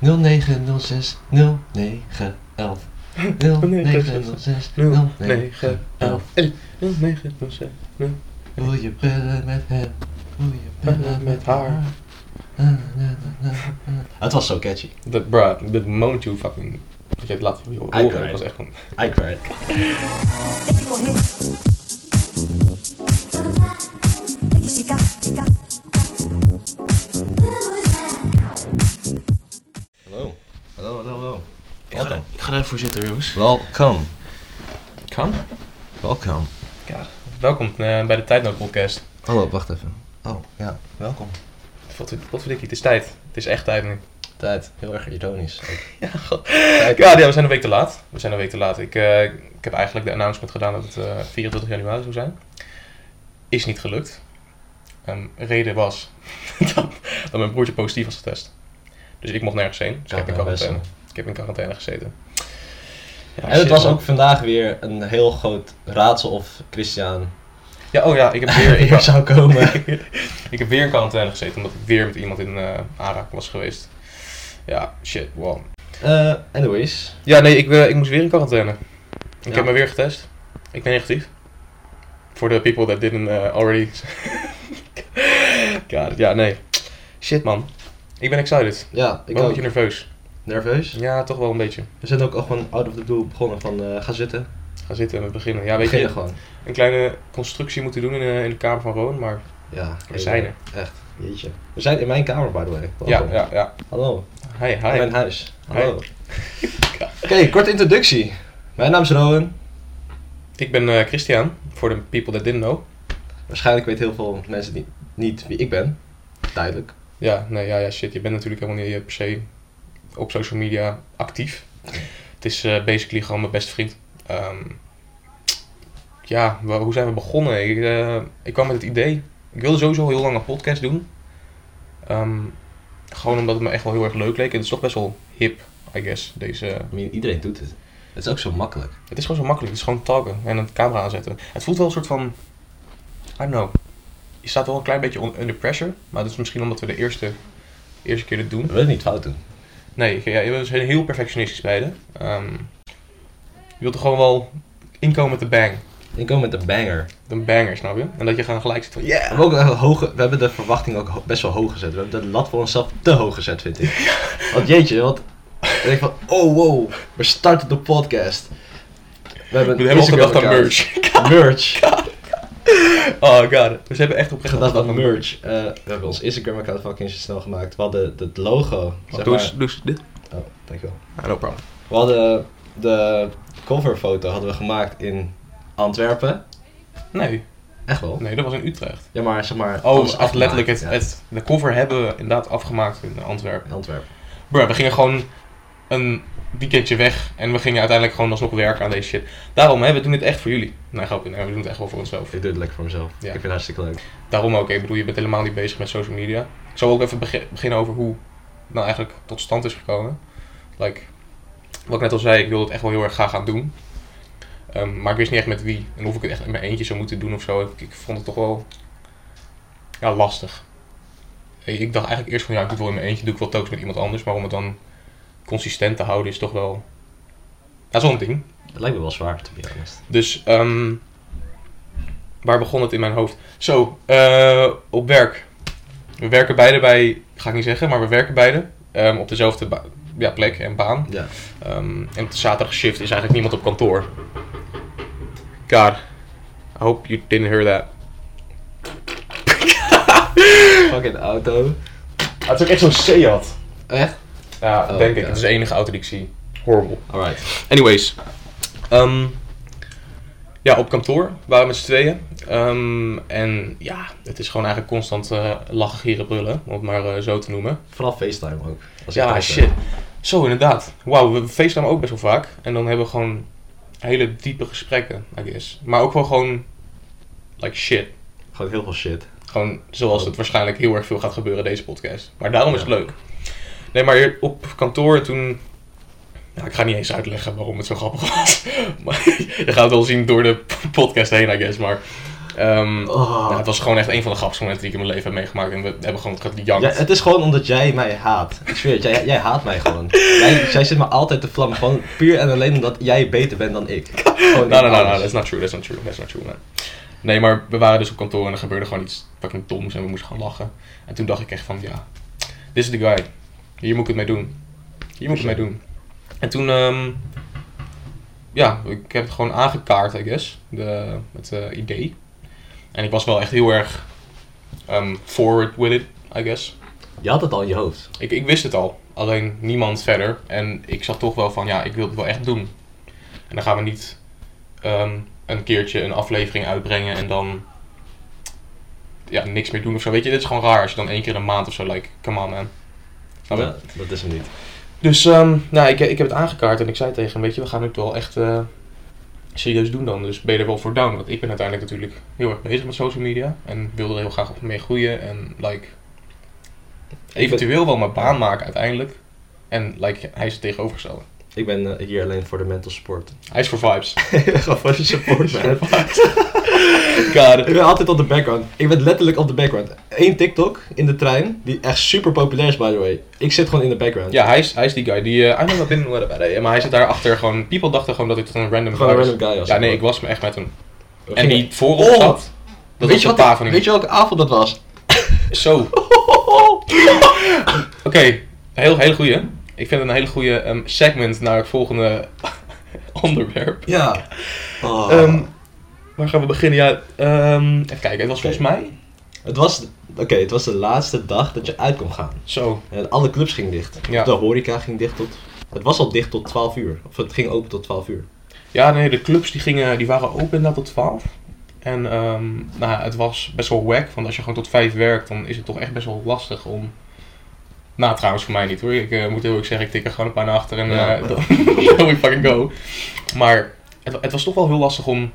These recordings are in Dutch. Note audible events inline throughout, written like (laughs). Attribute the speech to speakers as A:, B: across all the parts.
A: 0906 0911.
B: (laughs)
A: 0906 0911.
B: 0906.
A: Wil je bellen met hem? Wil je bellen
B: Bellen met
A: met haar? Na, na, na, na, na. Het was zo catchy.
B: Dat, bruh, the moment you fucking... Dat je het laat horen,
A: Uitgebreid.
B: dat was echt gewoon...
A: I cried. Hallo. Hallo, hallo, hallo.
C: Ik ga, ik ga daarvoor zitten, jongens.
A: Welkom.
B: Kan?
A: Welkom.
B: Ja. Welkom eh, bij de Tijdnoodpodcast.
A: Hallo, wacht even. Oh, ja. Welkom.
B: Wat verdikkie, het is tijd. Het is echt tijd nu.
A: Tijd. Heel erg ironisch. ook.
B: Ja, ja, we zijn een week te laat. We zijn een week te laat. Ik, eh, ik heb eigenlijk de announcement gedaan dat het eh, 24 januari zou zijn. Is niet gelukt. Ehm, reden was (laughs) dat, dat mijn broertje positief was getest. Dus ik mocht nergens heen. Dus ik heb in
A: Ja, best
B: quarantaine,
A: wel.
B: ik heb in quarantaine gezeten. Ja,
A: En het
B: shit,
A: was
B: man.
A: ook vandaag weer een heel groot raadsel of Christian
B: Ja, oh ja, ik heb
A: (laughs)
B: weer, ik,
A: hier zou komen.
B: (laughs) ik heb weer in quarantaine gezeten omdat ik weer met iemand in eh aanraking was geweest. Ja, shit, wow.
A: Eh, anyways.
B: Ja, nee, ik, eh, ik moest weer in quarantaine. Ik
A: Ja.
B: heb me weer getest. Ik ben negatief. For the people that didn't eh, already... (laughs) God, ja, nee. Shit, man. Ik ben excited.
A: Ja,
B: Ik
A: ik
B: ben een
A: ook.
B: beetje nerveus.
A: Nerveus?
B: Ja, toch wel een beetje.
A: We zijn ook al gewoon out of the blue begonnen van eh, ga zitten.
B: Ga zitten en we beginnen. Ja,
A: Weet Begin
B: weet
A: je
B: je,
A: gewoon.
B: een kleine constructie moeten doen in, eh, in de kamer van Rowan, maar
A: Ja.
B: we zijn er.
A: Echt. Jeetje. We zijn in mijn kamer, by the way.
B: Ja,
A: Welkom.
B: ja, ja.
A: Hallo.
B: Hi,
A: In mijn
B: hi.
A: huis. Hallo. (laughs) Oké, korte introductie. Mijn naam is Rowan.
B: Ik ben eh, Christian, for the people that didn't know.
A: Waarschijnlijk weten heel veel mensen niet, niet wie ik ben. Duidelijk.
B: Ja, nee, ja, ja, shit. Je bent natuurlijk helemaal niet eh, per se op social media actief. Het is eh, basically gewoon mijn beste vriend. Ehm, ja, wa- hoe zijn we begonnen? Ik, eh, ik kwam met het idee. Ik wilde sowieso al heel lang een podcast doen. Ehm, gewoon omdat het me echt wel heel erg leuk leek. En het is toch best wel hip, I guess. Deze...
A: I mean, iedereen doet het. Het is ook zo makkelijk.
B: Het is gewoon zo makkelijk. Het is gewoon talken en een camera aanzetten. Het voelt wel een soort van... I don't know. Je staat wel een klein beetje on- under pressure. Maar dat is misschien omdat we de eerste, eerste keer dit doen.
A: We willen niet fout doen.
B: Nee, ik- ja, we zijn heel perfectionistisch beiden. Ehm, je wilt er gewoon wel inkomen met de bang.
A: Ik kom met de banger.
B: Een banger, snap je? En dat je gewoon gelijk zit van,
A: We
B: yeah!
A: hebben, ook echt een hoge, we hebben de verwachting ook ho- best wel hoog gezet. We hebben de lat voor onszelf te hoog gezet, vind ik. Want jeetje, want ik denk van, oh wow, we starten de podcast. We hebben,
B: We hebben al gedacht aan
A: Instagram-account. Merch.
B: merch. (laughs) Oh god, we hebben echt oprecht
A: gedacht aan merch. Eh, we hebben ons Instagram-account fucking zo snel gemaakt. We hadden het logo. Zeg
B: Doe
A: maar.
B: eens, doe eens dit.
A: Oh, dankjewel.
B: Ah, no problem.
A: We hadden de coverfoto hadden we gemaakt in Antwerpen.
B: Nee,
A: Echt wel.
B: nee, dat was in Utrecht.
A: Ja, maar zeg maar.
B: Oh,
A: alles
B: echt
A: afgemaakt,
B: letterlijk het,
A: ja.
B: het, de cover hebben we inderdaad afgemaakt in Antwerpen.
A: In Antwerpen.
B: Bro, we gingen gewoon een weekendje weg en we gingen uiteindelijk gewoon alsnog werken aan deze shit. Daarom, hè, we doen dit echt voor jullie. Nee, grapje, nee, we doen het echt wel voor onszelf.
A: Ik doe het lekker voor mezelf.
B: Ja.
A: Ik vind het hartstikke leuk.
B: Daarom ook, ik bedoel, je bent helemaal niet bezig met social media. Ik zal ook even beg- beginnen over hoe het nou eigenlijk tot stand is gekomen. Like, wat ik net al zei, ik wil het echt wel heel erg graag gaan doen. Ehm, maar ik wist niet echt met wie en of ik het echt in mijn eentje zou moeten doen of zo. Ik, ik vond het toch wel ja, lastig. Ik, ik dacht eigenlijk eerst van ja, ik doe het wel in mijn eentje, doe ik wel telkens met iemand anders. Maar om het dan consistent te houden is toch wel. Ja, zo'n ding.
A: Het lijkt me wel zwaar, te be honest.
B: Dus ehm, waar begon het in mijn hoofd? Zo, eh, op werk. We werken beide bij, ga ik niet zeggen, maar we werken beide ehm, op dezelfde ba- ja, plek en baan.
A: Ja.
B: Ehm, en op de zaterdag shift is eigenlijk niemand op kantoor. God, I hope you didn't hear that.
A: Fucking auto.
B: Ah, Het is ook echt zo'n Seat.
A: Echt?
B: Ja,
A: Oh,
B: denk ik.
A: God.
B: Dat is de enige auto die ik zie. Horrible.
A: Alright.
B: Anyways. ehm, ja, op kantoor waren we met z'n tweeën. Ehm, en ja, het is gewoon eigenlijk constant eh, lachen, gieren, brullen. Om het maar eh, zo te noemen.
A: Vooral FaceTime ook. Als ik
B: ja,
A: thuis ben.
B: shit. Zo, inderdaad. Wauw, we facetimen ook best wel vaak. En dan hebben we gewoon hele diepe gesprekken, I guess. Maar ook wel gewoon, like shit.
A: Gewoon heel veel shit.
B: Gewoon zoals het waarschijnlijk heel erg veel gaat gebeuren deze podcast. Maar daarom is het leuk. Nee, maar hier op kantoor toen... Nou, ik ga niet eens (laughs) uitleggen waarom het zo grappig was. Maar je gaat het wel zien door de podcast heen, I guess. Maar Ehm,
A: Oh.
B: nou, het was gewoon echt een van de grappigste momenten die ik in mijn leven heb meegemaakt. En we hebben gewoon
A: Ja,
B: gejankt.
A: het is gewoon omdat jij mij haat. Ik zweer het, jij, jij haat mij (laughs) gewoon. Jij, jij zit me altijd te vlammen. Gewoon puur en alleen omdat jij beter bent dan ik. (laughs) Gewoon
B: Nou,
A: in
B: nou, nou,
A: alles.
B: that's not true, that's not true, that's not true, man. Nee, maar we waren dus op kantoor en er gebeurde gewoon iets fucking doms en we moesten gaan lachen. En toen dacht ik echt van, ja, this is the guy. Hier moet ik het mee doen. Hier moet ik het mee doen. En toen, ehm, ja, ik heb het gewoon aangekaart, I guess, de, het eh, idee. En ik was wel echt heel erg ehm, forward with it, I guess.
A: Je had het al in je hoofd.
B: Ik, ik wist het al, alleen niemand verder. En ik zag toch wel van, ja, ik wil het wel echt doen. En dan gaan we niet ehm, een keertje een aflevering uitbrengen en dan ja, niks meer doen of zo. Weet je, dit is gewoon raar als je dan één keer in de maand of zo, like, come on man. Snap je?
A: Ja, dat is hem niet.
B: Dus ehm, nou, ik, ik heb het aangekaart en ik zei tegen hem, weet je, we gaan het wel echt eh, serieus doen dan. Dus ben je er wel voor down? Want ik ben uiteindelijk natuurlijk heel erg bezig met social media en wilde er heel graag op mee groeien en like eventueel wel mijn baan maken uiteindelijk. En like, hij is het tegenovergestelde.
A: Ik ben eh, hier alleen voor de mental support.
B: Hij is voor vibes. (laughs)
A: Gewoon voor de support, man. (laughs)
B: God.
A: Ik ben altijd op de background. Ik ben letterlijk op de background. Eén TikTok in de trein, die echt super populair is, by the way. Ik zit gewoon in de background.
B: Ja, hij is, hij is die guy die... eh I know I've been what about it. Maar hij zit daarachter gewoon... People dachten gewoon dat ik een random
A: Gewoon
B: guy
A: een
B: was.
A: random guy was.
B: Ja, nee, ik was me echt met hem.
A: Ging-
B: En die voor ons
A: Oh!
B: zat...
A: weet,
B: Dat was
A: je
B: de
A: wat,
B: pa van
A: weet
B: die...
A: je welke avond dat
B: (laughs)
A: was?
B: Zo. Oké, heel, hele goeie. Ik vind het een hele goede segment naar het volgende (laughs) onderwerp.
A: Ja. Oh.
B: Ehm, waar gaan we beginnen? Ja, ehm, even kijken. Het was
A: Oké.
B: volgens mij...
A: het, was, oké, het was de laatste dag dat je uit kon gaan.
B: Zo.
A: En alle clubs gingen dicht.
B: Ja.
A: De horeca ging dicht tot... Het was al dicht tot 12 uur. Of het ging open tot 12 uur.
B: Ja, nee, de clubs die, gingen, die waren open inderdaad tot 12. En ehm, nou, ja, het was best wel wack, want als je gewoon tot 5 werkt, dan is het toch echt best wel lastig om. Nou, trouwens, voor mij niet hoor. Ik eh, moet heel eerlijk zeggen, ik tik er gewoon een paar naar achter en
A: Ja.
B: eh, dan (laughs) here we fucking go. Maar het, het was toch wel heel lastig om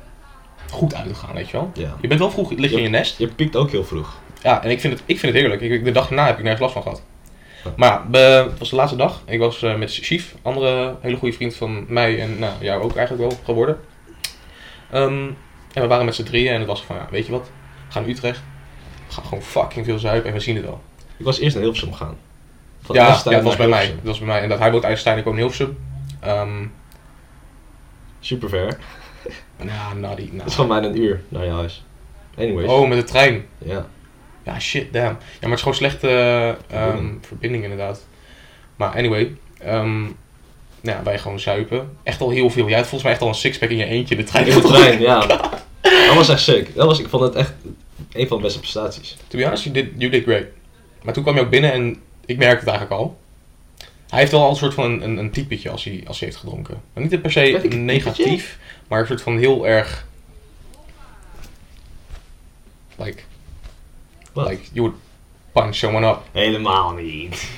B: goed uit te gaan, weet je wel.
A: Ja.
B: Je bent wel vroeg, lig je in je nest.
A: Je piekt ook heel vroeg.
B: Ja, en ik vind het, ik vind het heerlijk. Ik, de dag daarna heb ik nergens last van gehad.
A: Ja.
B: Maar ja, be- het was de laatste dag. Ik was eh, met Chief, andere hele goede vriend van mij en nou, jou ook eigenlijk wel geworden. Ehm, en we waren met z'n drieën en het was van, ja, weet je wat, we gaan naar Utrecht. We gaan gewoon fucking veel zuipen en we zien het wel.
A: Ik was eerst naar Hilversum gegaan. Van
B: ja,
A: Elstein
B: ja, dat was
A: naar
B: bij mij.
A: Hilversum.
B: Dat was bij mij. En dat hij woont IJsselstein, ik woon in Hilversum. Ehm
A: Super ver.
B: nou, nou, die, nou.
A: Het is gewoon bijna een uur naar je huis. Anyways.
B: Oh, met de trein.
A: Ja.
B: Ja, shit, damn. Ja, maar het is gewoon slechte ehm,
A: Verbinding.
B: verbinding inderdaad. Maar anyway, ehm, nou ja, wij gewoon zuipen. Echt al heel veel. Jij had volgens mij echt al een sixpack in je eentje in de trein.
A: In de trein, (laughs) ja. Dat was echt sick. Dat was, ik vond het echt een van de beste prestaties.
B: To be honest, you did, you did great. Maar toen kwam je ook binnen en ik merkte het eigenlijk al. Hij heeft wel al een soort van een, een, een typetje als hij, als hij heeft gedronken. Maar niet per se
A: Werd ik een
B: negatief, maar een soort van heel erg... Like,
A: Wat?
B: like, you would punch someone up.
A: Helemaal niet.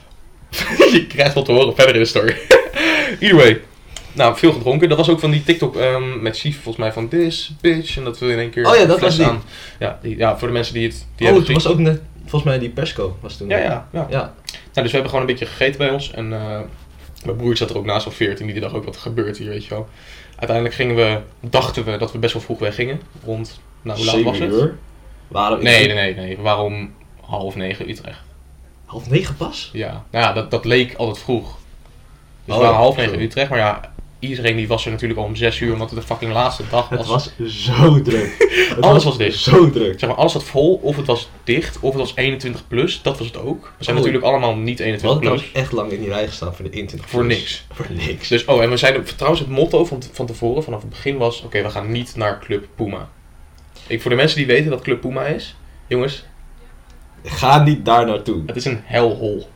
B: (laughs) je krijgt wat te horen verder in de story. (laughs) Either way. Nou, veel gedronken. Dat was ook van die TikTok ehm, met Chief, volgens mij van this bitch. En dat we in één keer
A: Oh ja, dat
B: fles
A: was die.
B: aan. Ja, die- ja, voor de mensen die het die
A: oh, het
B: hebben gezien.
A: was ook net, volgens mij die Pesco was toen.
B: Ja, ja, ja.
A: Ja,
B: Nou, dus we hebben gewoon een beetje gegeten bij ons. En eh, mijn broer zat er ook naast al 14, die dacht ook wat er gebeurt hier, weet je wel. Uiteindelijk gingen we, dachten we dat we best wel vroeg weggingen. Rond, nou, hoe laat was
A: Zeven
B: het?
A: uur. Waarom?
B: Nee, nee, nee, nee. Waarom half negen Utrecht?
A: Half negen pas?
B: Ja, nou ja, dat, dat leek altijd vroeg. Dus
A: Oh,
B: we waren half
A: true.
B: negen in Utrecht, maar ja, iedereen die was er natuurlijk al om zes uur, omdat het de fucking laatste dag was.
A: Het was zo
B: (laughs)
A: druk. Het
B: Alles was dicht.
A: Zo druk.
B: Zeg maar, alles zat vol, of het was dicht, of het was 21 plus, dat was het ook. We zijn
A: Oh.
B: natuurlijk allemaal niet
A: We hadden
B: 21
A: trouwens
B: plus.
A: echt lang in die rij gestaan voor de 21
B: Voor
A: plus.
B: niks.
A: Voor niks.
B: Dus, oh, en we zijn trouwens het motto van, van tevoren, vanaf het begin was, oké, we gaan niet naar Club Puma. Ik, voor de mensen die weten wat Club Puma is, jongens,
A: Ga niet daar naartoe.
B: het is een helhol.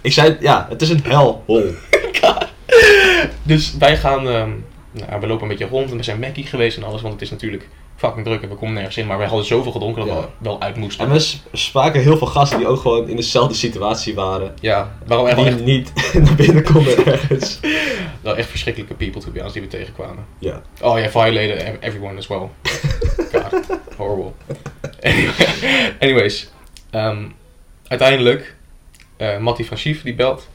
A: Ik zei, ja, het is een helhol.
B: Dus wij gaan, ehm, nou, ja, we lopen een beetje rond en we zijn Mackie geweest en alles, want het is natuurlijk fucking druk en we komen nergens in. Maar wij hadden zoveel gedronken dat we
A: Ja.
B: wel uit moesten.
A: En we s- spraken heel veel gasten die ook gewoon in dezelfde situatie waren.
B: Ja, waarom echt, wel
A: Die
B: echt,
A: niet (laughs) naar binnen konden ergens.
B: wel echt verschrikkelijke people to be honest die we tegenkwamen.
A: Ja.
B: Oh ja, violated ev- everyone as
A: (laughs)
B: well. God, horrible. (laughs) Anyways, ehm, uiteindelijk, eh Matty van Schief die belt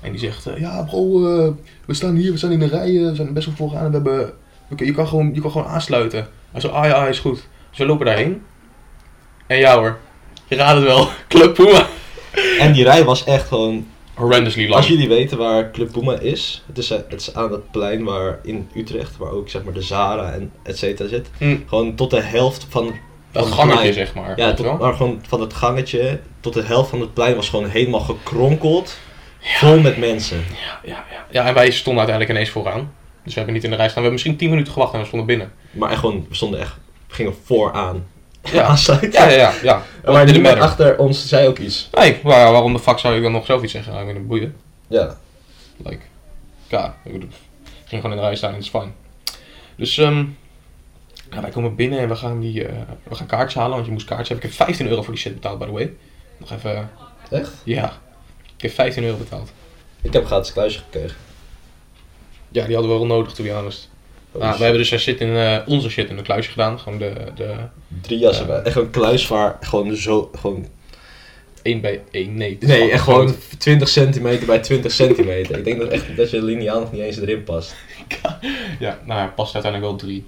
B: en die zegt, eh, ja bro, eh, we staan hier, we zijn in de rij, eh, we zijn best wel vooraan en we hebben, we kun- je, kan gewoon, je kan gewoon aansluiten. Hij zo, ah ja, is goed. Dus we lopen daarheen. En ja hoor, je raadt het wel. (laughs) Club Puma.
A: En die rij was echt gewoon...
B: Horrendously lang.
A: Als jullie weten waar Club Puma is, het is, eh, het is aan dat plein waar in Utrecht, waar ook zeg maar de Zara en et cetera zit.
B: Hm,
A: Gewoon tot de helft van
B: dat
A: Van
B: gangetje
A: klein.
B: zeg maar.
A: Ja,
B: weet
A: tot,
B: je wel?
A: maar gewoon van het gangetje tot de helft van het plein was gewoon helemaal gekronkeld. Vol met mensen.
B: ja, ja, ja. ja, en wij stonden uiteindelijk ineens vooraan. Dus we hebben niet in de rij staan. We hebben misschien 10 minuten gewacht en we stonden binnen.
A: Maar echt gewoon, we stonden echt, we gingen vooraan.
B: Ja,
A: (laughs) Aansluiten.
B: ja, ja. ja, ja.
A: Oh, Maar
B: Didn't
A: niemand
B: matter.
A: achter ons zei ook iets.
B: Nee, waar- waarom de fuck zou ik dan nog zoiets zeggen? Nou, Ik ben een boeien.
A: Ja.
B: Like, ja, ik bedoel, ging gewoon in de rij staan en het is fijn. Dus ehm, ja, wij komen binnen en we gaan, die, eh, we gaan kaartjes halen, want je moest kaartjes hebben. Ik heb 15 euro voor die shit betaald, by the way. Nog even, eh,
A: Echt?
B: ja. Ik heb 15 euro betaald.
A: Ik heb gratis kluisje gekregen.
B: Ja, die hadden we wel nodig, to be honest.
A: Oh,
B: Nou,
A: shit.
B: we hebben dus daar shit in, eh, onze shit in de kluisje gedaan. Gewoon de, de
A: Drie jassen
B: Ja.
A: bij. Echt een kluis waar gewoon zo, gewoon...
B: 1 bij 1, nee. het is
A: Nee,
B: wel
A: echt gewoon
B: groot.
A: 20 centimeter bij 20 centimeter. Ik denk dat, echt, dat je lineaal nog niet eens erin past.
B: Ja, nou ja, past uiteindelijk wel drie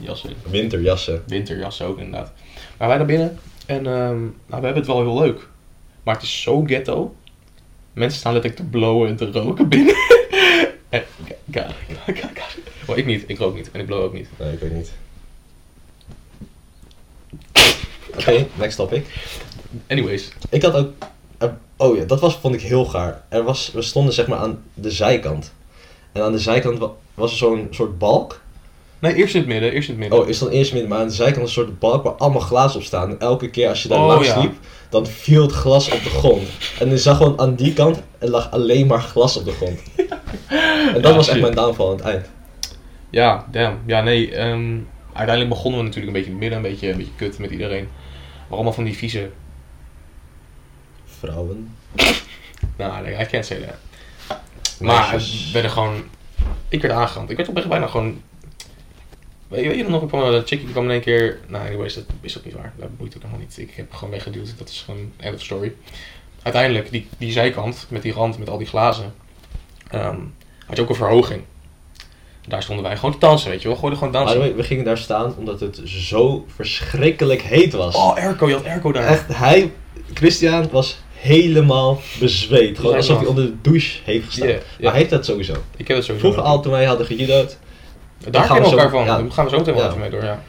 B: jassen in.
A: Winterjassen.
B: winterjas ook inderdaad. Maar wij daar binnen en ehm, nou, we hebben het wel heel leuk. Maar het is zo ghetto. Mensen staan letterlijk te blowen en te roken binnen. (laughs) En- ga- ga- ga- ga- ga. Oh, ik niet, ik rook niet en ik blow ook niet.
A: Nee, ik weet niet. Oké, next topic.
B: Anyways,
A: Ik had ook. er- oh ja, dat was, vond ik heel gaar. Er was, we stonden zeg maar aan de zijkant. En aan de zijkant wa- was er zo'n soort balk.
B: nee, eerst in het midden, eerst in het midden.
A: Oh, is dan eerst midden, maar aan de zijkant een soort balk waar allemaal glazen op staan. En elke keer als je daar
B: Oh,
A: langs
B: ja.
A: liep, dan viel het glas op de grond. En je zag gewoon aan die kant, er lag alleen maar glas op de grond.
B: (laughs)
A: En dat
B: Ja,
A: was echt
B: shit.
A: mijn downfall aan het eind.
B: Ja, damn. Ja, nee. ehm, uiteindelijk begonnen we natuurlijk een beetje in het midden, een beetje, een beetje kut met iedereen. Maar allemaal van die vieze...
A: Vrouwen.
B: Nou, nee, I can't say that. Maar eh,
A: meisjes.
B: we werden gewoon... Ik werd aangerand. Ik werd oprecht bijna gewoon... Weet je, weet je nog, ik kwam, dat chickie die kwam in één keer... Nou, anyways, dat is ook niet waar. Dat boeit ook helemaal niet. Ik heb gewoon weggeduwd. dus Dat is gewoon end of story. Uiteindelijk, die, die zijkant met die rand, met al die glazen... ehm, had je ook een verhoging. Daar stonden wij gewoon te dansen, weet je wel. Gooiden gewoon
A: By the
B: dansen.
A: way, we gingen daar staan omdat het zo verschrikkelijk heet was.
B: Oh, airco. Je had airco daar.
A: Echt, hij, Christian, was helemaal bezweet. Gewoon
B: Ja,
A: alsof hij
B: man.
A: onder de douche heeft gestaan.
B: Ja, ja.
A: Maar hij heeft dat sowieso.
B: Ik heb het sowieso.
A: Vroeger al toen wij hadden gejudo'd,
B: Daar
A: gaan we
B: kennen we
A: zo-
B: elkaar van.
A: ja.
B: Daar gaan we zo meteen wel
A: Ja.
B: even mee door, ja.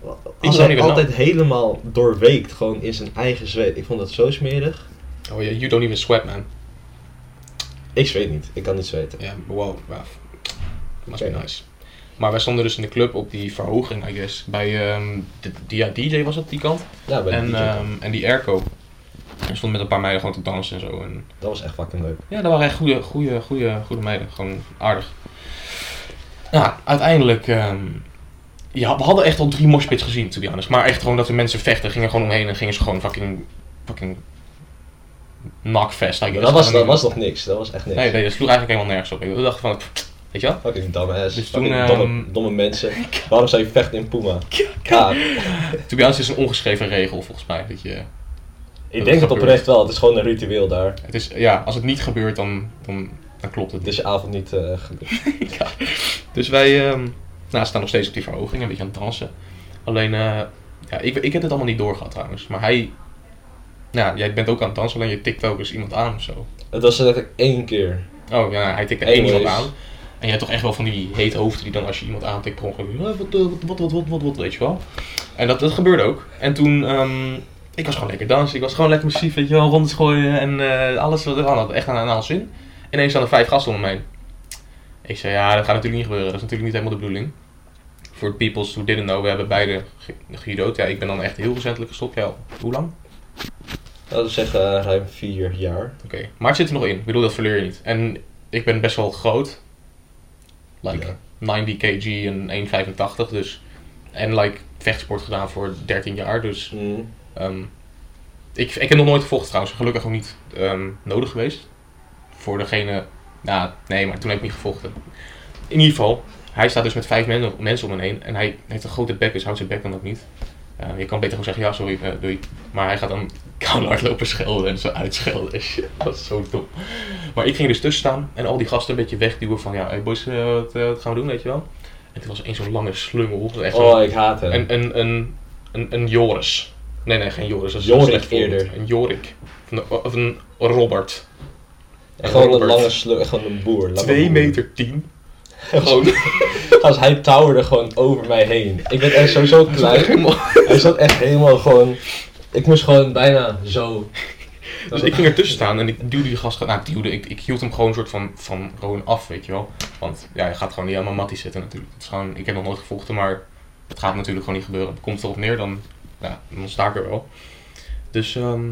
A: was
B: zou
A: hij
B: niet
A: altijd helemaal doorweekt. Gewoon in zijn eigen zweet. Ik vond dat zo smerig.
B: Oh, yeah, you don't even sweat, man.
A: Ik zweet niet. Ik kan niet zweten.
B: Ja, wow, wow. Must be
A: Oké.
B: nice. Maar wij stonden dus in de club op die verhoging, I guess. Bij ehm, de, die, ja, DJ was dat, die kant.
A: Ja, bij de
B: en,
A: DJ.
B: ehm, en die airco. En stond met een paar meiden gewoon te dansen en zo. En,
A: dat was echt fucking leuk.
B: ja, dat waren echt goede, goede, goede, goede meiden. Gewoon aardig. Nou, uiteindelijk... ehm, ja, we hadden echt al drie moshpits gezien, to be honest. Maar echt gewoon dat de mensen vechten, gingen gewoon omheen en gingen ze gewoon fucking... fucking... Knockfest, I guess.
A: dat, was, dat
B: Gewoon-
A: was nog niks. Dat was echt niks.
B: Nee, nee, dat sloeg eigenlijk helemaal nergens op. Ik dacht van... Weet je wel?
A: Fucking dumbass.
B: Dus
A: fucking
B: toen,
A: domme,
B: ehm,
A: domme
B: (laughs)
A: mensen. Waarom zou je vechten in Puma? Ja,
B: To be honest, het is een ongeschreven regel volgens mij. Dat je,
A: ik denk
B: gebeurt.
A: het oprecht wel. Het is gewoon een ritueel daar.
B: het is, ja, als het niet gebeurt, dan, dan, dan klopt het.
A: Het is je avond niet eh, gelukt.
B: ja. Dus wij ehm nou, staan nog steeds op die verhoging, een beetje aan het dansen. Alleen, eh, ja, ik, ik heb het allemaal niet doorgehad trouwens. Maar hij, nou, jij bent ook aan het dansen, alleen je tikt ook eens iemand aan of zo.
A: Het was letterlijk één keer.
B: Oh ja, hij tikte één iemand
A: Anyways.
B: aan. En je hebt toch echt wel van die hete hoofden die dan als je iemand aantikt per ongeluk, eh, wat, eh, wat, wat, wat, wat, wat, wat, weet je wel. En dat, dat gebeurde ook. En toen, ehm, ik was gewoon lekker dansen, ik was gewoon lekker massief, weet je wel, rondes gooien en eh, alles wat er aan had, echt aan, aan alles in. Ineens staan er vijf gasten om me heen. Ik zei, ja, dat gaat natuurlijk niet gebeuren, dat is natuurlijk niet helemaal de bedoeling. Voor de peoples who didn't know, we hebben beide ge- gejudo'd. Ja, ik ben dan echt heel recentelijk gestopt, ja, hoe lang?
A: Laten we zeggen eh, ruim vier jaar.
B: Oké, maar het zit er nog in. Ik bedoel, dat verleer je niet. En ik ben best wel groot. Like
A: Ja.
B: 90 kg en 1,85. Dus. En like vechtsport gedaan voor 13 jaar. Dus.
A: Mm.
B: ehm, ik, ik heb nog nooit gevochten trouwens. Gelukkig ook niet ehm, nodig geweest. Voor degene. Nou, nee, maar toen heb ik niet gevochten. In ieder geval, hij staat dus met vijf men- mensen om hem heen. En hij heeft een grote bek, dus houdt zijn bek dan ook niet. Eh, je kan beter gewoon zeggen, ja, sorry, eh, doei. Maar hij gaat dan (laughs) koud hardlopen schelden en zo uitschelden en shit. Dat is zo dom. Maar ik ging dus tussen staan en al die gasten een beetje wegduwen van, ja, hey boys, eh, wat, eh, wat gaan we doen, weet je wel? En toen was er één zo'n lange slungel. Echt zo'n-
A: Oh, ik haat hem.
B: een, een, een Een, een Joris. Nee, nee, geen Joris. Dat is
A: Jorik
B: een slecht voorbeeld.
A: eerder.
B: Een Jorik. Of een, of een Robert.
A: En gewoon een
B: Robert.
A: lange slur, gewoon een boer. lange
B: 2
A: boer.
B: meter 10. Gewoon.
A: Als hij towerde gewoon over mij heen. Ik ben echt sowieso klein.
B: (laughs) helemaal-
A: Hij zat echt helemaal gewoon... Ik moest gewoon bijna zo...
B: (laughs) Dus ik ging ertussen staan en ik duwde die gast gewoon. Nou, ik duwde, ik, ik hield hem gewoon een soort van, van gewoon af, weet je wel. Want ja, je gaat gewoon niet aan mijn mattie zitten natuurlijk. Het is gewoon, ik heb nog nooit gevochten, maar het gaat natuurlijk gewoon niet gebeuren. Komt erop neer, dan, ja, dan sta ik er wel. Dus ehm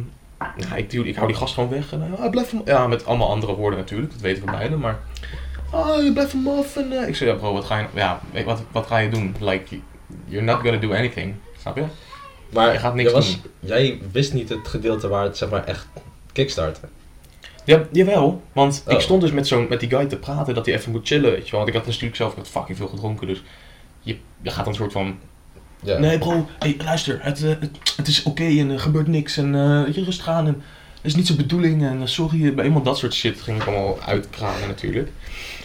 B: ja, ik, duwde, ik hou die gast gewoon weg. En, eh, ah, blijf hem, ja, met allemaal andere woorden natuurlijk, dat weten we beiden. Maar ah, je blijft hem af. En, eh, ik zei, ja bro, wat ga je, ja, weet- wat, wat ga je doen? Like, you're not gonna do anything. Snap je?
A: Maar
B: Je gaat niks
A: jij Jij wist niet het gedeelte waar het zeg maar echt kickstarten.
B: Ja, jawel, want ik
A: Oh.
B: stond dus met, zo'n met die guy te praten dat hij even moet chillen, weet je wel. Want ik had natuurlijk zelf met fucking veel gedronken, dus je, je gaat dan een soort van...
A: Ja.
B: Nee bro, hey, luister, het, eh, het, het is oké en er gebeurt niks en eh, weet je rustig aan en het is niet zijn bedoeling en eh, sorry, eh, bij eenmaal dat soort shit ging ik allemaal uitkramen natuurlijk.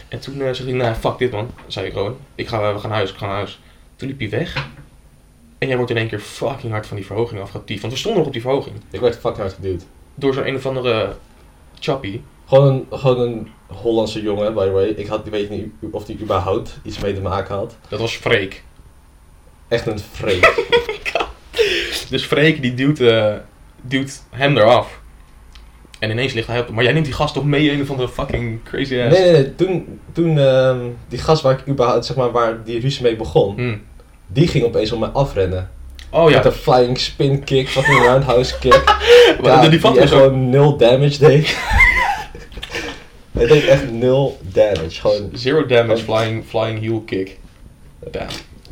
B: En toen eh, zei hij, nou fuck dit man, zei ik gewoon, ik ga, we gaan naar huis, ik ga naar huis. Toen liep hij weg en jij wordt in één keer fucking hard van die verhoging afgetiefd, want we stonden nog op die verhoging.
A: Ik werd fucking hard geduwd.
B: Door zo'n een of andere chappie.
A: Gewoon een, gewoon een Hollandse jongen, by the way. Ik had, ik weet niet of die überhaupt iets mee te maken had.
B: Dat was Freek.
A: Echt een vreemd.
B: Dus Freek die duwt, eh, duwt hem eraf. En ineens ligt hij op... Maar jij neemt die gast toch mee, een of andere fucking crazy
A: nee,
B: ass...
A: nee, nee. Toen, toen ehm, die gast waar ik überhaupt, zeg maar, waar die ruzie mee begon,
B: Hmm.
A: die ging opeens om mij afrennen.
B: Oh ja,
A: Met
B: (laughs)
A: een flying spin kick, fucking roundhouse kick.
B: maar
A: Ja,
B: die
A: die
B: vat
A: echt
B: was dus ook...
A: gewoon nul damage deed. (laughs) Hij deed echt nul damage. Gewoon,
B: Zero damage flying, flying heel kick. Ja,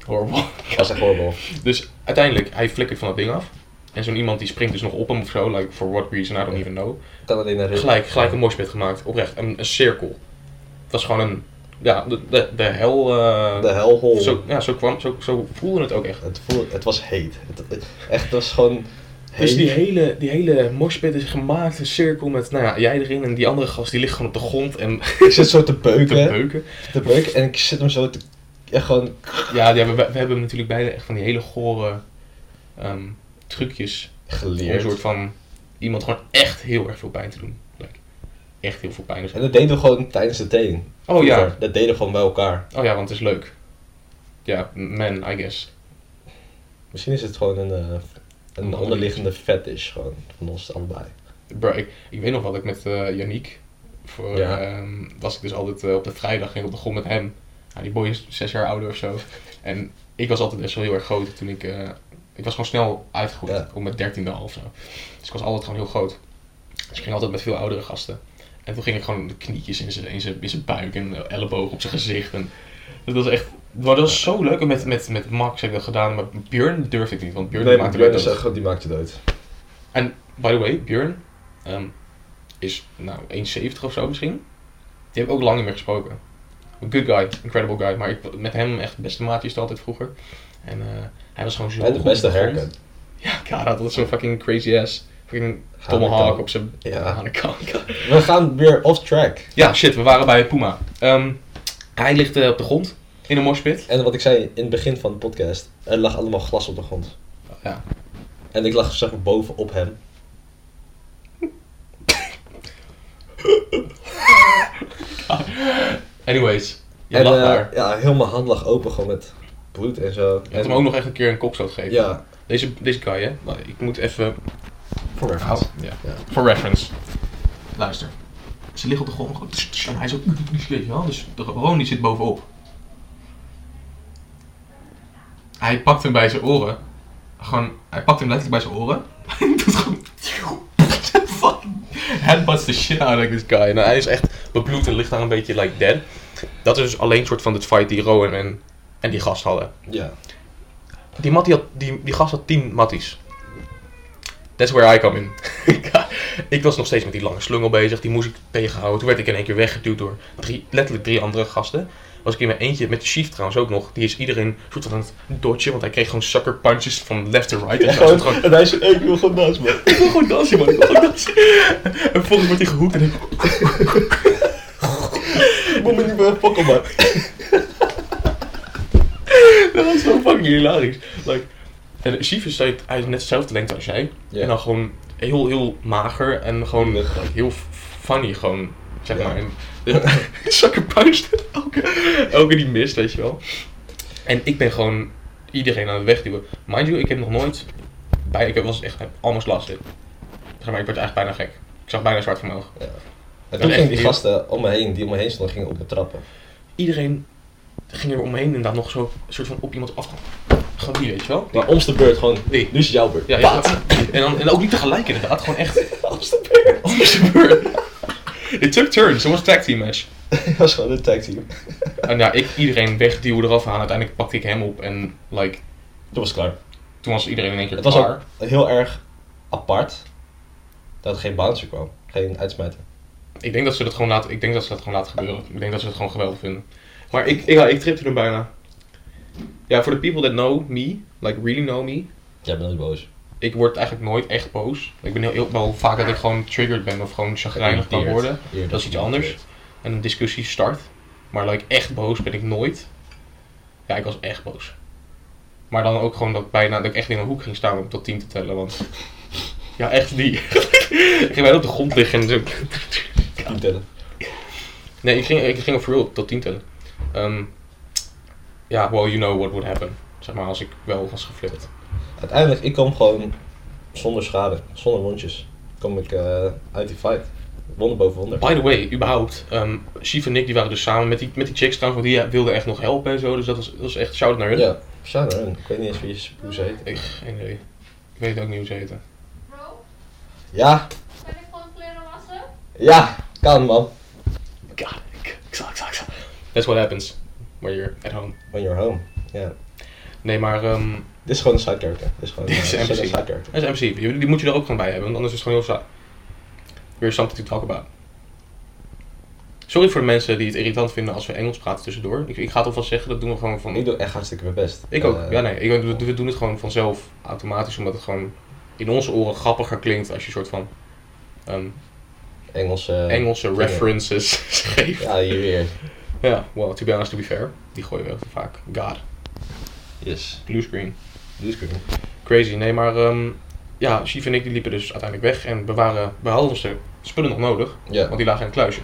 B: horrible. (laughs)
A: was echt horrible.
B: Dus uiteindelijk, hij flikkert van dat ding af. En zo'n iemand die springt dus nog op hem of zo, like for what reason, I don't even know.
A: Ik kan alleen naar Rick.
B: Gelijk, gelijk een moshpit gemaakt, oprecht. Een, een cirkel. Het was gewoon een... Ja, de, de, de hel... eh,
A: De hellhole.
B: zo, ja, zo, kwam, zo, zo voelde het ook echt.
A: Het, voelde, het was heet. Het, het- echt, het was gewoon heet.
B: Dus die hele, die hele moshpit is gemaakt, een cirkel met nou ja, jij erin en die andere gast die ligt gewoon op de grond en
A: Ik zit zo te
B: te
A: beuken, te,
B: beuken.
A: beuken en ik zit hem zo te... Echt gewoon...
B: Ja, die hebben, we, we hebben natuurlijk beide echt van die hele gore ehm, trucjes. Om een
A: Geleerd.
B: soort van iemand gewoon echt heel erg veel pijn te doen. Like, echt heel veel pijn. Dus-
A: En dat deden we gewoon tijdens de teen.
B: Oh ja,
A: Dat deden we gewoon bij elkaar.
B: oh ja, want het is leuk. Ja, man, I guess.
A: Misschien is het gewoon een, eh, een onderliggende fetish gewoon van ons allebei.
B: Bro, ik, ik weet nog wat ik met eh Yannick, voor,
A: Ja.
B: ehm, was ik dus altijd eh, op de vrijdag ging ik op de grond met hem. Nou, die boy is zes jaar ouder of zo. En ik was altijd best wel heel erg groot toen ik, eh, ik was gewoon snel uitgegroeid,
A: Ja.
B: om mijn dertiende al of zo. Dus ik was altijd gewoon heel groot. Dus ik ging altijd met veel oudere gasten. En toen ging ik gewoon de knietjes in zijn, in zijn, in zijn buik en de elleboog op zijn gezicht. En dat was echt, maar dat was zo leuk. En met, met, met Max heb ik dat gedaan, maar Björn durfde ik niet, want Björn maakte
A: Björn
B: mij
A: is
B: dood.
A: echt- die maakt je dood.
B: By the way, Björn ehm, is nou 1,70 of zo misschien. Die heb ik ook lang niet meer gesproken. Een good guy, incredible guy. Maar ik, met hem echt de beste maatjes altijd vroeger. En eh, hij was gewoon zo
A: En de
B: goed
A: beste
B: op de grond.
A: haircut.
B: (laughs) Ja, God, dat was zo'n fucking crazy ass. Fucking tomahawk op zijn
A: Ja.
B: hanenkant.
A: We gaan weer off track.
B: (laughs) Ja, shit, we waren bij Puma. Ehm, hij ligt eh, op de grond in een moshpit.
A: En wat ik zei in het begin van de podcast, er lag allemaal glas op de grond.
B: Ja.
A: En ik lag zeg maar boven op hem.
B: Anyways, je
A: en
B: lag
A: eh,
B: daar.
A: ja, heel mijn hand lag open gewoon met bloed en zo.
B: Je
A: en,
B: had hem ook nog echt een keer een kopstoot gegeven.
A: Ja,
B: Deze, deze guy, hè. Maar Ik moet even
A: voor
B: Voor
A: reference.
B: Ja.
A: Ja.
B: Voor reference. Luister. Ze liggen op de grond. gewoon tss, tss, En hij is ook... Weet je wel? Dus de Ron die zit bovenop. Hij pakt hem bij zijn oren. Gewoon... Hij pakt hem letterlijk bij zijn oren. (laughs) Hij doet gewoon... Fucking headbutts the shit out of this guy. Nou, hij is echt bebloed en ligt daar een beetje like dead. Dat is dus alleen soort van het fight die Rowan en, en die gast hadden.
A: Ja.
B: Die, mattie had, die, die gast had 10 matties. That's where I come in. (laughs) ik was nog steeds met die lange slungel bezig, die moest ik tegenhouden. Toen werd ik in één keer weggeduwd door drie, letterlijk drie andere gasten. Was ik in mijn eentje, met de chief trouwens ook nog. Die is iedereen soort van aan het dodgen, want hij kreeg gewoon sucker punches van left to right. En zo. Gewoon,
A: en hij zei, ik wil gewoon naast me.
B: (laughs) ik wil gewoon dansen, man. Ik wil gewoon dansen. (laughs) En vervolgens wordt hij gehoekt en ik...
A: Ik moet me niet meer fokken, man.
B: Dat was zo fucking hilarisch. Like, En Chief is like, hij is net dezelfde lengte als jij.
A: Ja.
B: En dan gewoon heel, heel mager en gewoon
A: Ja.
B: like, heel f- funny gewoon, zeg
A: Ja.
B: maar. En, (laughs) zakken puisten, elke, elke die mist, weet je wel. En ik ben gewoon iedereen aan het wegduwen. Mind you, ik heb nog nooit, bij, ik was echt almost lastig. Zeg maar, ik werd eigenlijk bijna gek. Ik zag bijna zwart van mijn ogen.
A: En
B: Dat
A: toen
B: is
A: gingen
B: echt
A: die
B: heel-
A: gasten om me heen, die om me heen stonden, gingen op de trappen.
B: Iedereen ging er omheen en dan nog zo soort van op iemand af. Gewoon die, weet je wel.
A: Maar omste beurt gewoon,
B: Die.
A: nu is het jouw beurt.
B: Ja, ja.
A: (laughs)
B: En, dan, en ook niet tegelijk inderdaad, gewoon echt. (laughs) Alles gebeurt. It took turns, it was a tag team match.
A: Dat was gewoon een tag team.
B: En ja, ik iedereen wegduwde eraf aan, uiteindelijk pakte ik hem op en like,
A: Toen was het klaar.
B: toen was iedereen in één keer
A: Het was
B: klaar.
A: ook heel erg apart dat er geen bouncer kwam. Geen uitsmijter.
B: Ik denk dat ze dat gewoon laten, ik denk dat ze dat gewoon laten gebeuren. Ik denk dat ze het gewoon geweldig vinden. Maar ik, ik, ja, ik tripte hem bijna. Ja, for the people that know me, like really know me,
A: Jij bent nooit boos.
B: ik word eigenlijk nooit echt boos. Ik ben heel, heel wel vaak dat ik gewoon triggered ben of gewoon chagrijnig kan
A: Geïrriteerd.
B: worden.
A: Eerder
B: Dat is iets
A: geïrriteerd.
B: anders. En een discussie start. Maar like echt boos ben ik nooit. Ja, ik was echt boos. Maar dan ook gewoon dat ik bijna dat ik echt in een hoek ging staan om tot 10 te tellen. Want (laughs) ja, echt die. (laughs) ik ging bijna op de grond liggen en zo.
A: Niet tellen.
B: Nee, ik ging, ik ging op real tot 10 tellen. Ehm, ja, well, you know what would happen. Zeg maar, als ik wel was geflipt.
A: Uiteindelijk, ik kwam gewoon zonder schade, zonder wondjes. Kom ik eh, uit die fight. Wonder boven wonder.
B: By the way, überhaupt, ehm Chief en ik die waren dus samen met die, met die chicks trouwens, want die eh, wilden echt nog helpen en zo. Dus dat was, dat was echt shout naar hun.
A: Ja, shout out. Ik weet niet eens wie ze- hoe ze heet.
B: Ik, geen idee. Ik weet ook niet hoe ze heten.
D: Bro,
A: Ja,
D: kan ik gewoon kleren wassen?
A: ja, kan man.
B: God, ik, ik zal, ik zal, ik zal. That's what happens when you're at home.
A: When you're home. Ja.
B: Nee, maar ehm
A: Dit is gewoon een side character. Dit is gewoon
B: Dit is
A: eh,
B: NPC.
A: een side character.
B: dat is MC. Die, die moet je er ook gewoon bij hebben, want anders is het gewoon heel saai. There's something to talk about. Sorry voor de mensen die het irritant vinden als we Engels praten tussendoor. Ik, ik ga het alvast zeggen, dat doen we gewoon van...
A: Ik doe echt hartstikke mijn best.
B: Ik ook.
A: Eh,
B: ja, nee. Ik, we, we doen het gewoon vanzelf automatisch, omdat het gewoon in onze oren grappiger klinkt als je soort van ehm,
A: Engels. eh,
B: Engelse
A: dingen.
B: references (laughs) geeft. Ja.
A: Ja, hier weer.
B: well, to be honest, to be fair. Die gooien we heel vaak. God.
A: Yes.
B: Blue screen.
A: Doe screen.
B: Crazy. Nee, maar ehm, ja, Chief en ik die liepen dus uiteindelijk weg en we, waren, we hadden onze spullen nog nodig,
A: Ja.
B: want die lagen in een kluisje.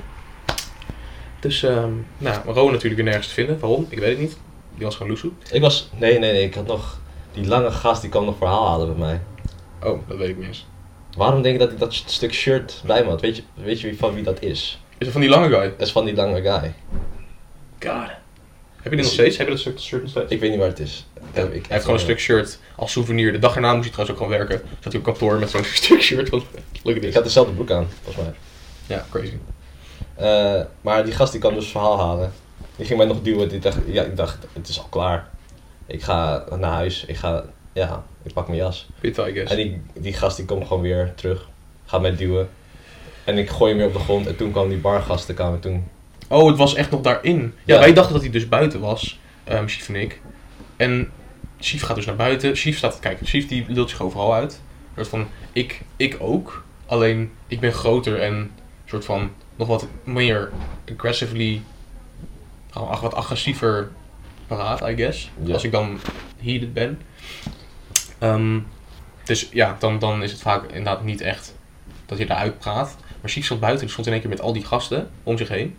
B: Dus, ehm nou, Ro natuurlijk weer nergens te vinden. Waarom? Ik weet het niet. Die was gewoon loesoe.
A: Ik was. Nee, nee, nee. Ik had nog. Die lange gast die kwam nog verhaal halen bij mij.
B: Oh, dat weet ik niet eens.
A: Waarom denk je dat ik dat st- stuk shirt bij me had? Weet je, weet je wie, van wie dat is?
B: Is het van die lange guy?
A: Dat is van die lange guy.
B: God. Heb je dit nog steeds? Heb je dat stuk shirt nog steeds?
A: Ik weet niet waar het is. Dat
B: Ja,
A: heb
B: hij
A: ik
B: heeft gewoon een stuk shirt als souvenir. De dag erna moest hij trouwens ook gewoon werken. Zat hij op kantoor met zo'n (laughs) stuk shirt. Van, look at
A: Ik
B: this.
A: had dezelfde broek aan, volgens mij.
B: Ja, crazy.
A: Eh, maar die gast die kwam dus verhaal halen. Die ging mij nog duwen. Die dacht, ja, ik dacht, het is al klaar. Ik ga naar huis. Ik ga, ja, ik pak mijn jas.
B: Pit, I guess.
A: En die, die gast die komt gewoon weer terug. Gaat mij duwen. En ik gooi hem weer op de grond. En toen kwam die bargast de kamer toen.
B: Oh, het was echt nog daarin. Ja,
A: Ja.
B: wij dachten dat hij dus buiten was, ehm Chief en ik. En Chief gaat dus naar buiten. Chief staat te kijken. Chief die lult zich overal uit. Een soort van, ik, ik ook. Alleen, ik ben groter en een soort van nog wat meer aggressively, gewoon ach- wat agressiever paraat, I guess.
A: Ja.
B: Als ik dan heated ben. Ehm, dus ja, dan, dan is het vaak inderdaad niet echt dat je daaruit praat. Maar Chief stond buiten, die stond in één keer met al die gasten om zich heen.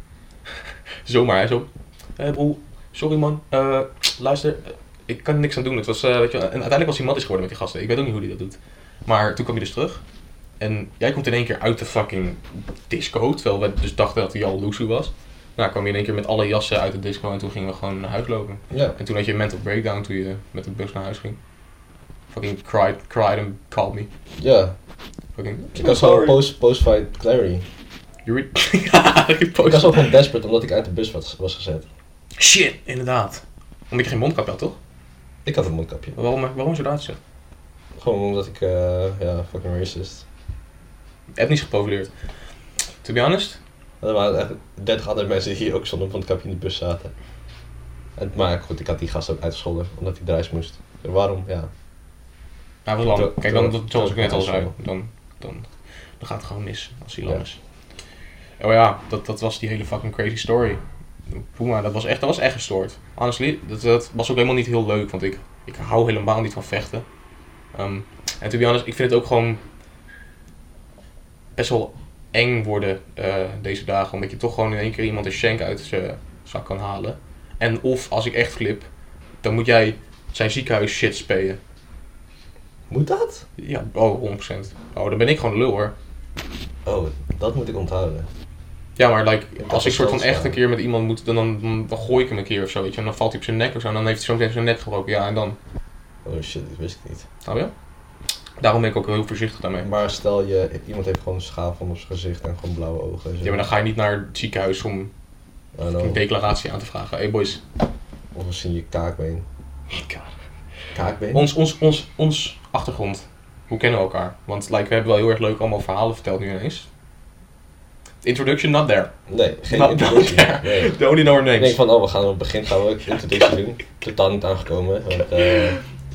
B: (laughs) Zomaar, hij zo. "Eh, broer, sorry man, Eh, luister, eh, ik kan er niks aan doen. Het was, eh, weet je, wel- en uiteindelijk was hij matties geworden met die gasten. Ik weet ook niet hoe hij dat doet. Maar toen kwam hij dus terug. En jij komt in één keer uit de fucking disco. Terwijl we dus dachten dat hij al loesoe was. Nou, kwam je in één keer met alle jassen uit de disco en toen gingen we gewoon naar huis lopen.
A: Ja.
B: En toen had je een mental breakdown toen je met de bus naar huis ging. Fucking cried, cried and called me.
A: Ja.
B: Fucking, (laughs)
A: Ik was gewoon post, post-fight Clary.
B: You re- (laughs) ja, je
A: Ik
B: post-
A: was ook gewoon desperate omdat ik uit de bus was, was gezet.
B: Shit, inderdaad. Omdat je geen mondkapje had, toch?
A: Ik had een mondkapje.
B: Waarom, waarom is je dat zo?
A: Gewoon omdat ik, eh, ja, fucking racist.
B: Etnisch geprofileerd. To be honest,
A: En er waren echt 30 andere mensen die hier ook zonder mondkapje in de bus zaten. En, maar goed, ik had die gast ook uitgescholden omdat hij druis moest. Waarom? Ja.
B: hij was lang.
A: Dat-
B: Kijk, dan,
A: dat-
B: dat, zoals ik net al
A: dat-
B: zei, dan, dan, dan gaat het gewoon mis als hij lang
A: Ja.
B: is. Oh ja, dat, dat was die hele fucking crazy story. Puma, dat was echt, dat was echt gestoord. Honestly, dat, dat was ook helemaal niet heel leuk, want ik, ik hou helemaal niet van vechten. Ehm, en to be honest, ik vind het ook gewoon best wel eng worden eh, deze dagen. Omdat je toch gewoon in één keer iemand een shank uit zijn zak kan halen. En of als ik echt flip, dan moet jij zijn ziekenhuis shit spelen.
A: Moet dat?
B: Ja, oh, 100%. Oh, dan ben ik gewoon een lul hoor.
A: Oh, dat moet ik onthouden.
B: Ja, maar like,
A: dat
B: als ik
A: is
B: soort van
A: wel
B: echt
A: zo.
B: een keer met iemand moet, dan, dan, dan, dan gooi ik hem een keer of zo, weet je. En dan valt hij op zijn nek of zo, en dan heeft hij zometeen zijn nek gebroken. Ja, en dan,
A: Oh shit, dat wist ik niet.
B: snap je? Daarom ben ik ook heel voorzichtig daarmee.
A: Maar stel je, iemand heeft gewoon een schaafwond op zijn gezicht en gewoon blauwe ogen. en zo.
B: Ja, maar dan ga je niet naar het ziekenhuis om
A: Oh, no.
B: een declaratie aan te vragen. Hey boys.
A: Of misschien je kaakbeen. Kaakbeen?
B: Ons, ons, ons, ons achtergrond. Hoe kennen we elkaar? Want like, we hebben wel heel erg leuk allemaal verhalen verteld nu ineens. Introduction not there.
A: Nee, geen
B: Not
A: introductie.
B: (laughs) there.
A: Nee.
B: Don't only know our
A: Ik
B: names.
A: denk van, oh, we gaan op het begin gaan we een introductie doen. Totaal niet aangekomen. Want, eh,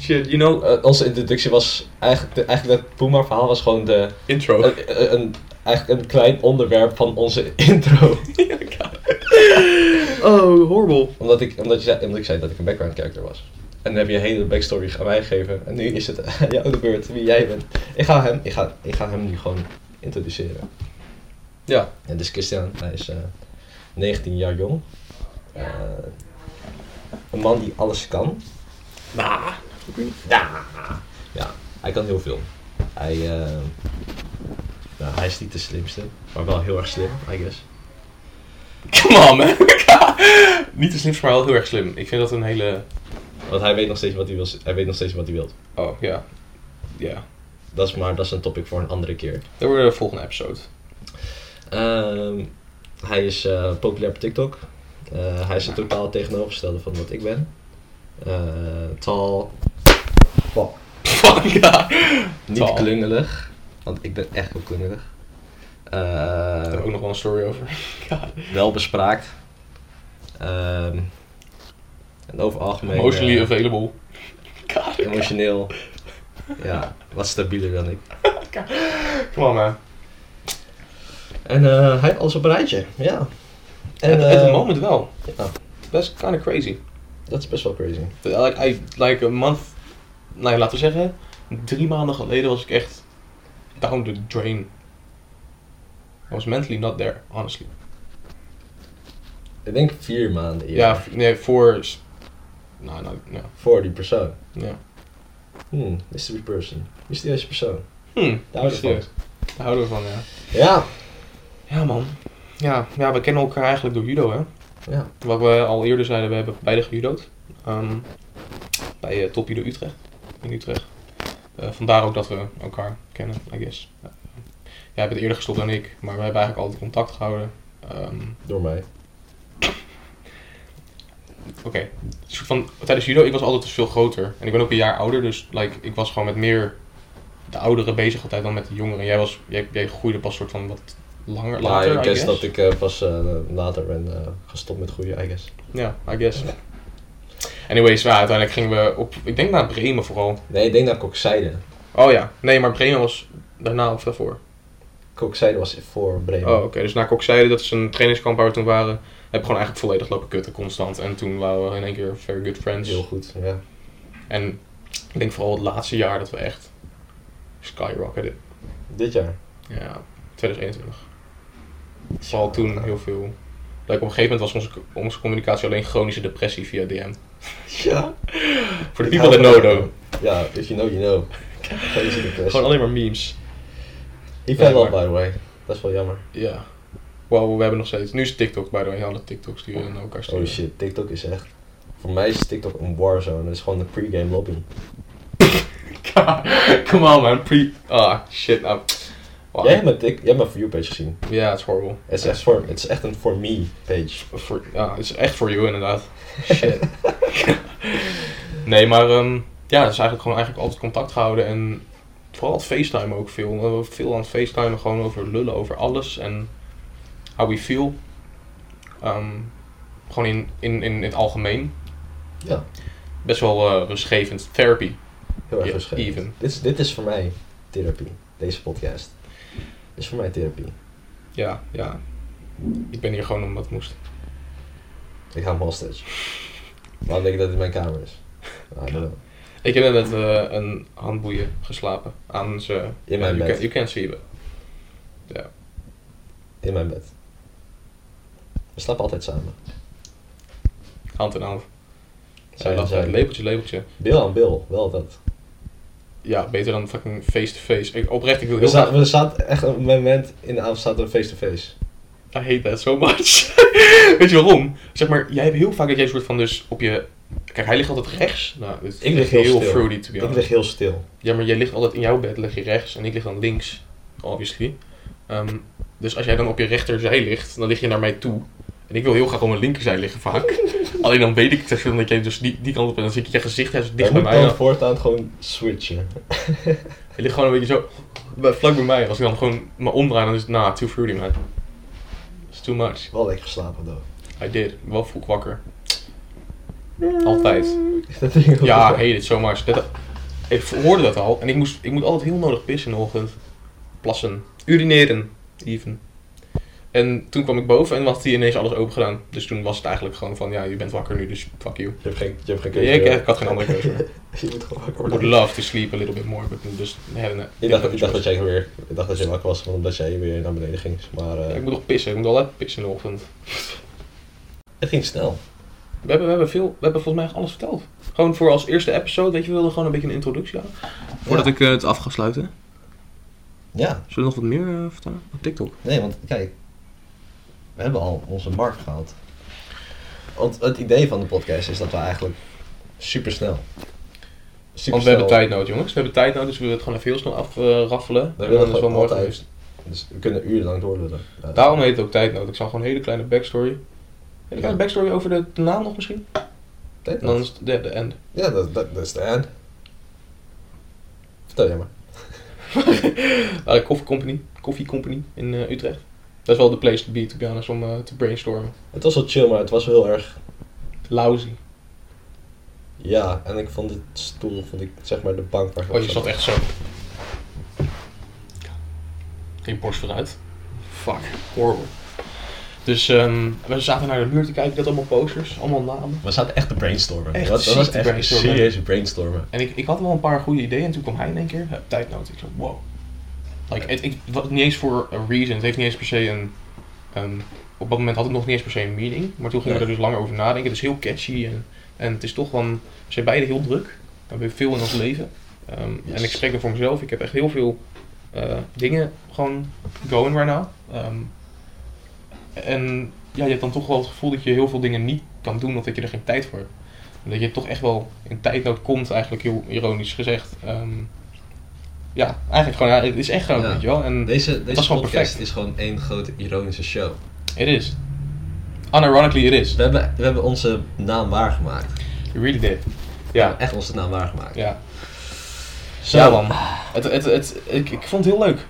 B: Shit, you know, uh,
A: eh, onze introductie was eigenlijk, de- eigenlijk dat Puma verhaal was gewoon de,
B: intro.
A: een, een- een, eigenlijk een klein onderwerp van onze (laughs) intro.
B: (laughs) Oh, horrible.
A: Omdat ik, omdat, je zei, omdat ik zei dat ik een background character was. En dan heb je een hele backstory aan mij gegeven. En nu is het (laughs) aan jou de beurt, wie jij bent. Ik ga hem, ik ga, ik ga hem nu gewoon introduceren.
B: Ja.
A: En dit is Christian, hij is eh, 19 jaar jong. Eh, een man die alles kan. Ja. ja, hij kan heel veel. Hij, eh, nou, hij is niet de slimste, maar wel heel erg slim, I guess.
B: Come on, man. (laughs) Oh Niet de slimste, maar wel heel erg slim. Ik vind dat een hele...
A: Want hij weet nog steeds wat hij wil. Hij weet nog steeds wat hij wil.
B: Oh, ja. Ja.
A: Dat is maar dat is een topic voor een andere keer.
B: Dat wordt de volgende episode. (laughs)
A: Ehm, hij is eh, populair op TikTok. Eh, hij is het totaal tegenovergestelde van wat ik ben. Eh tal. Fuck.
B: Fuck, ja.
A: Niet
B: Tal.
A: klungelig. Want ik ben echt heel klungelig. Eh,
B: Daar heb ik ook nog wel een story over.
A: welbespraakt. Ehm, en over het algemeen.
B: Emotionally
A: eh,
B: available. God,
A: emotioneel. Ja, wat stabieler dan ik.
B: come on, man.
A: En eh, hij heeft alles op een rijtje, ja.
B: En, at,
A: eh,
B: the moment wel.
A: ja.
B: That's kind of crazy.
A: Dat is best wel crazy.
B: Like, I, like a month... Nou, laten we zeggen... Drie maanden geleden was ik echt... Down the drain. I was mentally not there, honestly.
A: Ik denk vier maanden eerder.
B: Ja, v- nee, voor... s- Nou, nou, ja.
A: Voor die persoon.
B: ja.
A: Hmm, mystery person. Mysterieuze persoon.
B: Hm,
A: Daar houden we
B: mysterieus. Daar houden we van, ja.
A: Ja.
B: Ja, man. Ja, ja, we kennen elkaar eigenlijk door judo, hè.
A: Ja.
B: Wat we al eerder zeiden, we hebben beide gejudo'd. Ehm, bij eh, Top Judo Utrecht. In Utrecht. Eh, vandaar ook dat we elkaar kennen, I guess. Ja. Jij bent eerder gestopt dan ik, maar we hebben eigenlijk altijd contact gehouden. Ehm,
A: Door mij.
B: Oké, een soort van, tijdens judo, ik was altijd dus veel groter. En ik ben ook een jaar ouder, dus like, ik was gewoon met meer de ouderen bezig altijd dan met de jongeren. Jij, was, jij, jij groeide pas soort van wat langer, later,
A: ja,
B: I
A: ik guess
B: guess.
A: dat ik eh, pas eh, later ben eh, gestopt met groeien, I guess.
B: Ja, I guess. Anyways, ja, uiteindelijk gingen we op, ik denk naar Bremen vooral.
A: Nee, ik denk dat kokzijde.
B: Oh ja, nee, maar Bremen was daarna of daarvoor.
A: Kokzijde was voor Bremen.
B: Oh, oké, dus na Kokzijde, dat is een trainingskamp waar we toen waren, heb ik gewoon eigenlijk volledig lopen kutten, constant. En toen waren we in één keer very good friends.
A: Heel goed, ja.
B: En ik denk vooral het laatste jaar dat we echt skyrocketed.
A: Dit jaar.
B: Ja, 2021. Vooral toen heel veel. Like, op een gegeven moment was onze, onze communicatie alleen chronische depressie via DM.
A: Ja.
B: Voor de people that know though.
A: Ja, if you know, you know. Crazy depressie.
B: Gewoon alleen maar memes.
A: Ik vind
B: Ja,
A: wel,
B: maar-
A: by the way. Dat is wel jammer.
B: Ja. Wow, we hebben nog steeds. Nu is TikTok, by the way. Alle TikToks die we naar elkaar sturen.
A: Oh shit, TikTok is echt... Voor mij is TikTok een warzone. Dat is gewoon een pre-game lobby.
B: (laughs) Come on, man. Pre. Ah, shit. Nou. Wow.
A: Jij hebt mijn, tik- jij hebt mijn For You page gezien.
B: Ja, het is horrible.
A: Het is, echt voor, het is echt een For Me page.
B: Voor, ja, het is echt voor
A: (laughs)
B: jou inderdaad. Shit. (laughs) nee, maar ehm, ja, het is eigenlijk gewoon eigenlijk altijd contact gehouden en vooral het FaceTime ook veel. We hebben veel aan het FaceTime gewoon over lullen, over alles en how we feel. Ehm, gewoon in, in, in het algemeen.
A: Ja.
B: Best wel eh rustgevend. Therapy.
A: Heel erg
B: Ja,
A: verschillend.
B: even.
A: Dit is, dit is voor mij therapie. Deze podcast. Dit is voor mij therapie.
B: Ja, ja. Ik ben hier gewoon omdat het moest.
A: Ik hou hem hostage. Waarom denk ik Ah, dat dit mijn kamer is? I don't know.
B: Ik heb net eh, een handboeien geslapen aan zijn...
A: In mijn
B: you
A: bed.
B: Can, you can see it. Ja.
A: In mijn bed. We slapen altijd samen.
B: Hand in hand.
A: Zij-
B: Zij dacht,
A: zij-
B: lepeltje, lepeltje.
A: Bil aan bil, wel dat.
B: Ja, beter dan fucking face-to-face. Ik, oprecht, ik wil
A: We
B: heel graag...
A: zaten, we zaten echt op een moment in de avond zaten we face-to-face.
B: I hate that so much. (laughs) Weet je waarom? Zeg maar, jij hebt heel vaak dat jij soort van dus op je... Kijk, hij ligt altijd rechts. Nou, dit is
A: Ik lig
B: echt
A: heel stil.
B: fruity, to be
A: Ik
B: honest.
A: lig heel stil.
B: Ja, maar jij ligt altijd in jouw bed, lig je rechts en ik lig dan links, obviously. Ehm, dus als jij dan op je rechterzij ligt, dan lig je naar mij toe. En ik wil heel graag op mijn linkerzij liggen vaak.
A: (laughs)
B: Alleen dan weet ik te veel dat jij dus die, die kant op en dan zit je gezicht juist dicht
A: Dicht
B: bij
A: moet
B: mij.
A: dan
B: Dan,
A: voortaan gewoon switchen.
B: je ligt gewoon een beetje zo bij- vlak bij mij. Als ik dan gewoon me omdraai, dan is het, nah, too fruity man. It's too much.
A: Wel lekker geslapen, though. (laughs)
B: I did. Wel vroeg wakker. Altijd.
A: Is dat ding goed?
B: Ja, I hate it so much. Dat, ik hoorde dat al en ik, moest, ik moet altijd heel nodig pissen in de ochtend. Plassen. Urineren, even. En toen kwam ik boven en had hij ineens alles open gedaan. Dus toen was het eigenlijk gewoon van, ja, je bent wakker nu, dus fuck you.
A: Je hebt geen, je hebt geen
B: Ja,
A: keuze.
B: ik,
A: joh.
B: ik had geen andere keuze meer.
A: (laughs) je moet gewoon wakker
B: I would
A: worden.
B: love to sleep a little bit more, but dus just having a,
A: Ik dacht, ik dacht dat jij weer, ik dacht dat jij wakker was, omdat jij weer naar beneden ging. Maar eh,
B: Ja, ik moet nog pissen, ik moet altijd pissen in de ochtend.
A: het ging snel.
B: We hebben, we hebben veel, we hebben volgens mij alles verteld. Gewoon voor als eerste episode, weet je, we wilden gewoon een beetje een introductie aan. Voordat ik eh, het af ga sluiten.
A: Ja,
B: Zullen we nog wat meer eh, vertellen? Op TikTok.
A: nee, want kijk, we hebben al onze markt gehaald. Want het idee van de podcast is dat we eigenlijk super snel.
B: Want we hebben tijd nodig, jongens. We hebben tijd nodig, dus we willen het gewoon even heel snel afraffelen.
A: willen
B: dat is wel
A: gewoon
B: mooi Nou,
A: altijd.
B: geweest.
A: Dus we kunnen urenlang doorlullen. Ja.
B: Daarom heet het ook tijd nodig. Ik zal gewoon een hele kleine backstory. Hele kleine backstory over de, de naam nog misschien?
A: Tijd
B: En dan
A: nodig.
B: is het de, de end. (laughs)
A: Ja, dat, dat, dat is de end. Vertel jij maar.
B: Eh, Coffee Company. Coffee Company in eh, Utrecht. Dat is wel de place to be, to be honest, om eh, te brainstormen.
A: Het was wel chill, maar het was wel heel erg.
B: Lousy.
A: Ja, en ik vond het stoel, vond ik zeg maar de bank waar ik
B: Oh,
A: op
B: je zat echt zo. Geen borst vooruit. Fuck, horrible. Dus ehm, we zaten naar de muur te kijken, dat allemaal posters, allemaal namen.
A: We zaten echt te brainstormen.
B: Echt
A: dat, dat was
B: ziek te
A: echt
B: brainstormen.
A: serieuze brainstormen.
B: En ik, ik had wel een paar goede ideeën en toen kwam hij in één keer. Ja, tijdnood. Ik zo, wow. Like, het, ik, wat niet eens voor een reason. Het heeft niet eens per se een... ehm, op dat moment had ik nog niet eens per se een meeting. Maar toen gingen we er dus langer over nadenken. Het is heel catchy en, en het is toch gewoon... We zijn beide heel druk. We hebben veel in ons leven. Ehm,
A: Yes.
B: En ik spreek er voor mezelf. Ik heb echt heel veel eh, dingen gewoon going right now. Ehm, en ja, je hebt dan toch wel het gevoel dat je heel veel dingen niet kan doen omdat je er geen tijd voor hebt. En Dat je toch echt wel in tijdnood komt, eigenlijk heel ironisch gezegd. Ehm, ja, eigenlijk gewoon, ja, het is echt gewoon,
A: Ja.
B: weet je wel. En
A: Deze, deze
B: was gewoon
A: podcast
B: perfect.
A: is gewoon één grote ironische show.
B: it is. Unironically, it is.
A: We hebben, we hebben onze naam waargemaakt.
B: You really did. Ja,
A: Echt onze naam waargemaakt.
B: ja.
A: Zo,
B: Ja, man. Het, het, het, ik, ik vond het heel leuk.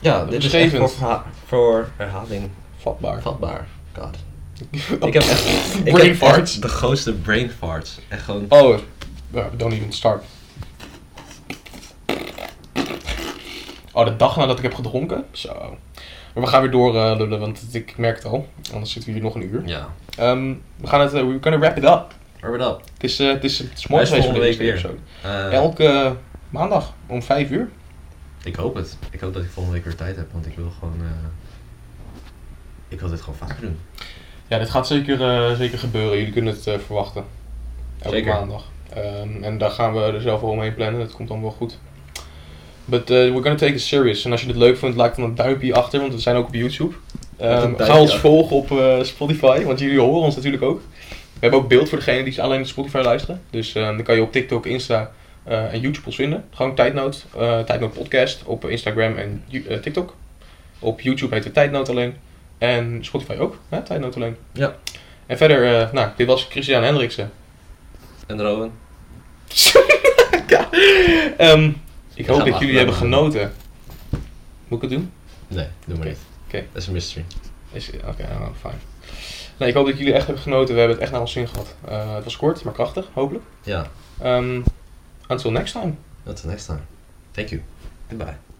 A: Ja, dit is echt
B: Beschrijvend.
A: voor, verha- voor herhaling
B: Vatbaar.
A: vatbaar. God. Ik heb echt, ik
B: Brain
A: heb echt
B: farts.
A: de grootste brain farts. Echt gewoon...
B: Oh, well, don't even start. Oh, de dag nadat ik heb gedronken? Zo. Maar we gaan weer door, eh, lullen, want ik merk het al. Anders zitten we hier nog een uur.
A: Ja.
B: Ehm, we gaan het, eh, we kunnen wrap it up.
A: Wrap it up.
B: Het is, eh, het is, het is mooi
A: Hij
B: geweest
A: is
B: voor de
A: volgende week
B: week weer. Zo.
A: Eh,
B: Elke eh, maandag om 5 uur.
A: Ik hoop het. Ik hoop dat ik volgende week weer tijd heb, want ik wil gewoon... eh, ik wil dit gewoon vaker doen.
B: Ja, dit gaat zeker, eh, zeker gebeuren. Jullie kunnen het eh, verwachten. Elke
A: Zeker.
B: maandag. Ehm, en daar gaan we er zelf wel omheen plannen. Dat komt dan wel goed. But eh, we're gonna take it serious. En als je dit leuk vindt, laat dan een duimpje achter, want we zijn ook op YouTube. Ehm,
A: Laat een duimpje
B: ga ons
A: achter.
B: volgen op eh, Spotify, want jullie horen ons natuurlijk ook. We hebben ook beeld voor degenen die alleen op Spotify luisteren. Dus ehm, dan kan je op TikTok, Insta eh, en YouTube ons vinden. Gewoon Tijdnoot. eh Tijdnoot Podcast op Instagram en Ju- eh, TikTok. Op YouTube heet het Tijdnoot alleen. En Spotify ook, hè? Tijdnoot alleen.
A: Ja.
B: En verder, eh, nou, dit was Christian Hendriksen.
A: En Rowan?
B: Ehm, ik
A: ga
B: hoop
A: hem
B: dat
A: afblijven.
B: jullie hebben genoten. Moet ik het doen?
A: Nee, doe maar
B: Oké.
A: niet.
B: Oké.
A: Dat is een mystery.
B: Is- Oké, nou, fijn. Nee, ik hoop dat jullie echt hebben genoten. We hebben het echt naar ons zin gehad. Eh, het was kort, maar krachtig, hopelijk.
A: Ja,
B: Ehm until next time.
A: until next time. Thank you. Goodbye.